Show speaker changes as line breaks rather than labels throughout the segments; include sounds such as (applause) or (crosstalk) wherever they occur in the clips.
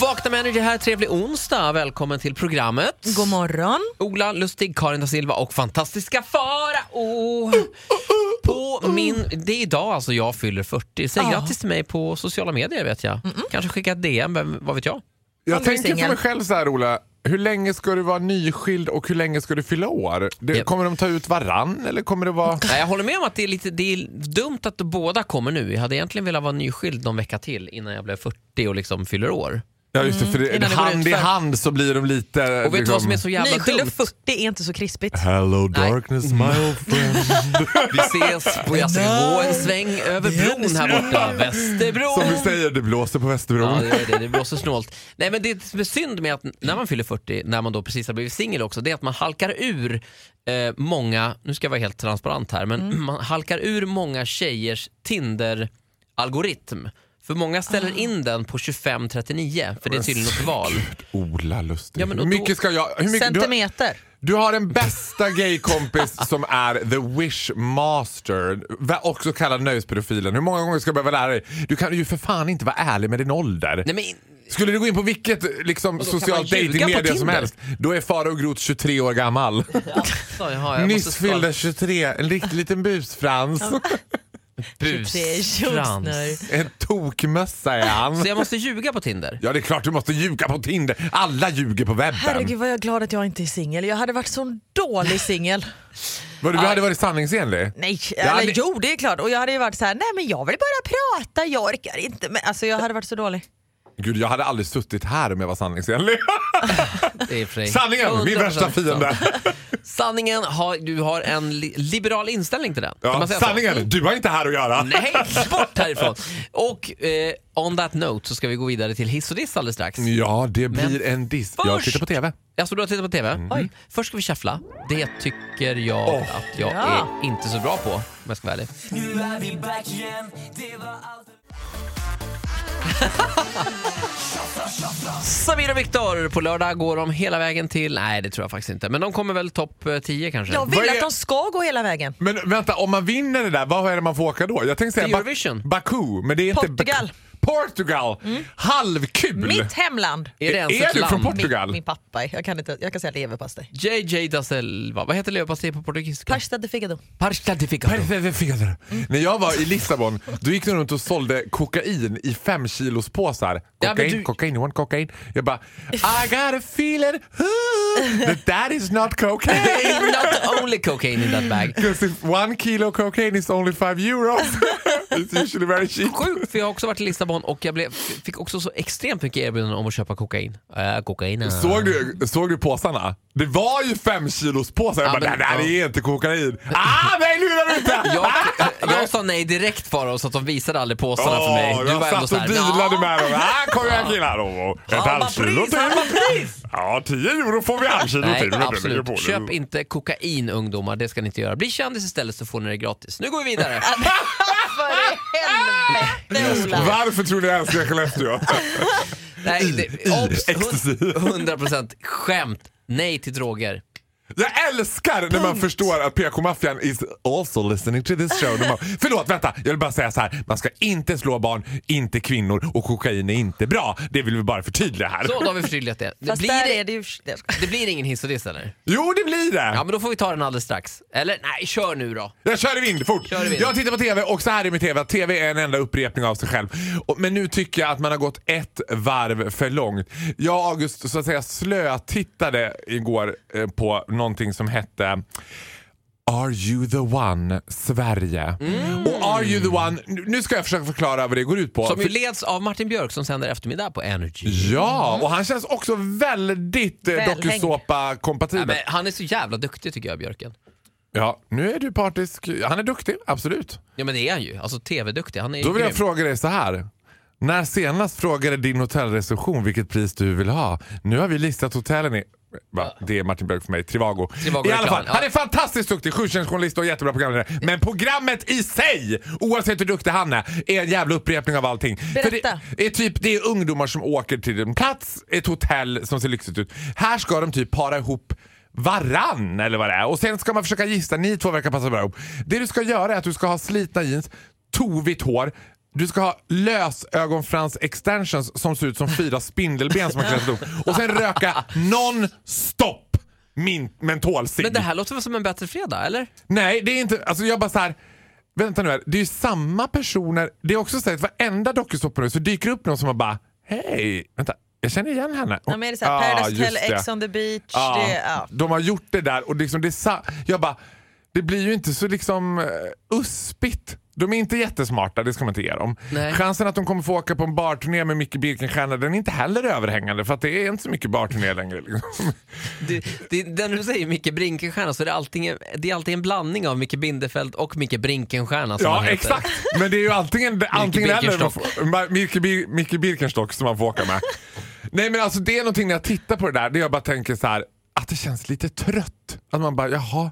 Vakna med Energy här, trevlig onsdag. Välkommen till programmet.
God morgon.
Ola Lustig, Karin da Silva och fantastiska Farao. På min, det är idag alltså jag fyller 40. Säg
Ja.
grattis till mig på sociala medier vet jag. Kanske skicka ett DM, vem, vad vet jag?
Om
Jag
du är
tänker för
singel.
mig själv så här Ola, hur länge ska du vara nyskild och hur länge ska du fylla år? Det,
Japp. Mm.
Kommer de ta ut varann eller kommer det vara...
Nej, jag håller med om att det är lite det är dumt att båda kommer nu. Jag hade egentligen velat vara nyskild någon vecka till innan jag blev 40 och liksom fyller år.
Ja just det, för
Mm.
det,
innan det går
hand
ut
i
för-
hand så blir de lite... liksom-
Och vet du vad som är så jävla
Nyskilda
dumt?
40 är inte så krispigt.
Hello darkness my (laughs) old friend.
Vi ses och jag ska gå en sväng över bron här borta. Västerbron.
Som vi säger, det blåser på
Ja,
Västerbron.
det, är det, det blåser snålt. Nej, men det som är synd med att när man fyller 40, när man då precis har blivit singel också, det är att man halkar ur eh, många, nu ska jag vara helt transparent här, men man halkar ur många tjejers Tinder-algoritm. För många ställer in den på 25-39, för det är tydligen något val.
Ola Lustig.
Ja, men och
hur
då-
mycket ska jag... Hur mycket, du, har-
Centimeter.
du har den
(laughs)
bästa gaykompis som är the wish master, va- också kallad nöjespedofilen. Hur många gånger ska jag behöva lära dig? Du kan ju för fan inte vara ärlig med din ålder.
Nej, men,
Skulle du gå in på vilket liksom,
Vadå, kan man
socialt
ljuga på
dejtingmedia som
Tinder?
helst, då är Farao Groth 23 år gammal.
så, jaha, jag måste
Nyss
skala-
fyllda 23, en riktig liten busfrans.
Busfrans.
en tokmössa är han.
Så jag måste ljuga på Tinder?
Ja det är klart du måste ljuga på Tinder, alla ljuger på webben.
Herregud vad jag är glad att jag inte är singel. Jag hade varit sån dålig singel.
Vad Du, du hade varit sanningsenlig.
(laughs) Nej,
hade-
eller jo det är klart. Och jag hade ju varit så här, nej men jag vill bara prata, jag orkar inte. Men, alltså jag hade varit så dålig.
Gud jag hade aldrig suttit här om jag var sanningsenlig. (laughs)
Det är för dig.
Sanningen, min
100%
värsta fiende.
Sanningen, har, du har en li- liberal inställning till den. Kan
Ja,
man säga så?
sanningen, du har inte här att göra.
Nej, bort härifrån! Och eh, on that note så ska vi gå vidare till hiss och diss alldeles strax.
Mm.
Ja, det blir en diss. Jag
först-
tittar på TV.
Alltså du har tittat på TV?
Mm.
Oj. Först ska vi shuffla. Det tycker jag
Åh.
att jag
Ja.
är inte så bra på om jag ska vara ärlig.
Nu är vi back igen, det var allt
(laughs) Samir och Viktor, på lördag går de hela vägen till... Nej, det tror jag faktiskt inte. Men de kommer väl topp eh, 10 kanske?
Jag vill
är-
att de ska gå hela vägen.
Men vänta, om man vinner det där, vad är det man får åka då? Jag tänkte säga
Till Eurovision. Mm.
Ba- Baku, men det är inte
Portugal.
Baku. Portugal! Halvkul!
Mitt hemland.
Är det ens
Är
ett
du
land?
från
Min,
Portugal?
min pappa, jag kan, inte, jag kan säga leverpastej.
JJ da Silva. Vad heter leverpastej på portugisiska?
Pasta de (laughs) figado.
Pasta de figaro.
Perfekt.
Mm.
När jag var i Lissabon, då gick de runt och sålde kokain i fem kilos påsar.
Ja, men
Kokain,
du-
kokain, you want cocaine? Jag bara, I got a feeling
(laughs)
ooh, that that is not cocaine.
Not only cocaine in that bag.
Because if one kilo cocaine is only five euros, (laughs) it's usually very cheap.
Sjukt, för jag har också varit i Lissabon och jag blev, fick också så extremt mycket erbjudanden om att köpa kokain. Äh, kokain. äh.
Såg du, såg du påsarna? Det var ju fem kilos påsar. Jag
Ja,
bara, det
men-
här är inte kokain. Ah, mig lurar du inte! Ah!
Jag, jag sa nej direkt Farao så att de visade aldrig påsarna för
Åh,
mig. Du
jag
var ändå
satt och
såhär...
dealade med dem. Här kommer jag killar. Och- och Ett halvt kilo till. Ja, 10 euro får vi halvkilo
Nej,
till. Det blir på
absolut.
det.
Köp inte kokain ungdomar, det ska ni inte göra. Bli kändis istället så får ni det gratis. Nu går vi
(laughs)
vidare.
För i helvete Ola.
Varför tror ni jag älskar
(laughs)
Skellefteå?
Nej,
I-
det,
i
obs,
ecstasy.
100% skämt. Nej till droger.
Jag älskar när man förstår att PK-maffian is also listening to this show. De bara, Förlåt, vänta. Jag vill bara säga så här. Man ska inte slå barn, inte kvinnor och kokain är inte bra. Det vill vi bara förtydliga här.
Så, då har vi förtydligat det. Det
Fast där
blir,
är det ju...
det blir ingen hiss och diss eller?
Jo, det blir det.
Ja, men då får vi ta den alldeles strax. Eller nej, kör nu då.
Jag kör i vind fort.
Kör i vind.
Jag tittar på TV och så här är med TV. att TV är en enda upprepning av sig själv. Och- Men nu tycker jag att man har gått ett varv för långt. Jag och August så att säga slötittade igår eh, på någonting som hette Are you the one Sverige? Och Are you the one, nu nu ska jag försöka förklara vad det går ut på.
Mm. Som ju
För-
leds av Martin Björk som sänder eftermiddag på Energy.
Ja, och han känns också väldigt eh,
Välhängd.
Ja,
dokusåpa-kompatibel.
men han är så jävla duktig tycker jag, Björken.
Ja, nu är du partisk. Han är duktig, absolut.
Ja men det är han ju. Alltså tv-duktig. Han är ju
Då vill jag
grym.
fråga dig så här. När senast frågade din hotellreception vilket pris du vill ha? Nu har vi listat hotellen i... Va? Det är Martin Björk för mig. Trivago.
Trivago
I
är
alla
klar.
fall,
Ja.
han är fantastiskt duktig. Sjutjänstjournalist och jättebra programledare. Men programmet i sig, oavsett hur duktig han är, är en jävla upprepning av allting. För
Berätta.
det, är typ, det är ungdomar som åker till en plats, ett hotell som ser lyxigt ut. Här ska de typ para ihop varann eller vad det är. Och sen ska man försöka gissa. Ni två verkar passa bra ihop. Det du ska göra är att du ska ha slitna jeans, tovigt hår, Du ska ha lösögonfrans extensions som ser ut som fyra spindelben som har klätt upp. Och sen röka non-stop min mentolcigg.
Men det här låter väl som en bättre fredag, eller?
Nej, det är inte... Alltså jag bara så här... Vänta nu här. Det är ju samma personer. Det är också så här att varenda dokusåpa nu så dyker upp någon som har bara Hej, vänta. Jag känner igen henne.
Ja, men är det så här, Paradise Hotel, Ex on the beach.
Ja,
Det, ja.
De har gjort det där och liksom det är sa- Jag bara, det blir ju inte så liksom eh, uspigt. De är inte jättesmarta, det ska man inte ge dem.
Nej.
Chansen att de kommer få åka på en barturné med Micke Birkenstierna den är inte heller överhängande för att det är inte så mycket barturné längre. Liksom.
Det, det, den du säger Micke Brinkenstierna så är det, allting, det är alltid en blandning av Micke Bindefeld och Micke Brinkenstierna som
Ja,
han heter.
exakt. Men det är ju antingen, antingen eller. Man får, Ma- Micke, Bir, Micke Birkenstock som man får åka med. Nej men alltså det är någonting när jag tittar på det där, det jag bara tänker så här att det känns lite trött. Att man bara, jaha.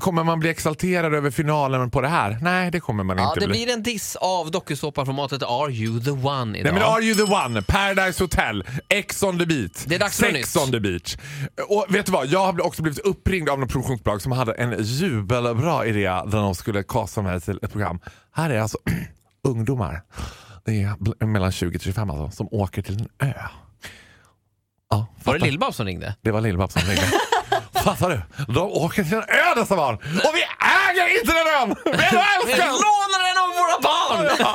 Kommer man bli exalterad över finalen på det här? Nej, det kommer man
Ja,
inte
det
bli.
blir en diss av dokusåpaformatet Are You The One idag.
Nej men Are You The One, Paradise Hotel, Ex on the Beach,
Det är dags för
Sex
nytt.
on the Beach. Och vet du vad, jag har också blivit uppringd av något produktionsbolag som hade en jubelbra idé när de skulle kasta mig till ett program. Här är alltså (clears throat) ungdomar, det är bl- mellan 20 till 25 alltså, som åker till en ö. Ja,
Var
fattar.
det lill som ringde?
Det var Lill-Babs
(laughs)
som ringde. Fattar du? De åker till en ö dessa barn! Och vi äger inte den ön! Vi
Vi
älskar den!
lånar den av våra barn!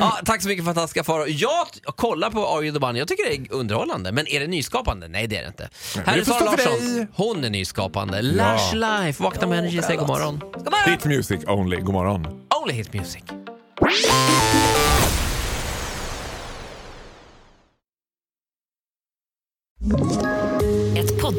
ja, tack så mycket fantastiska Farao. Jag t- kollar på Are You The One. Jag tycker det är underhållande. Men är det nyskapande? Nej det är det inte. Här
det
är Sara
får stå för
Larsson.
dig.
Hon är nyskapande. Lash Life, Vakna med energi, säg god morgon.
God morgon!
It's music only, god morgon.
Only hit music.
Ett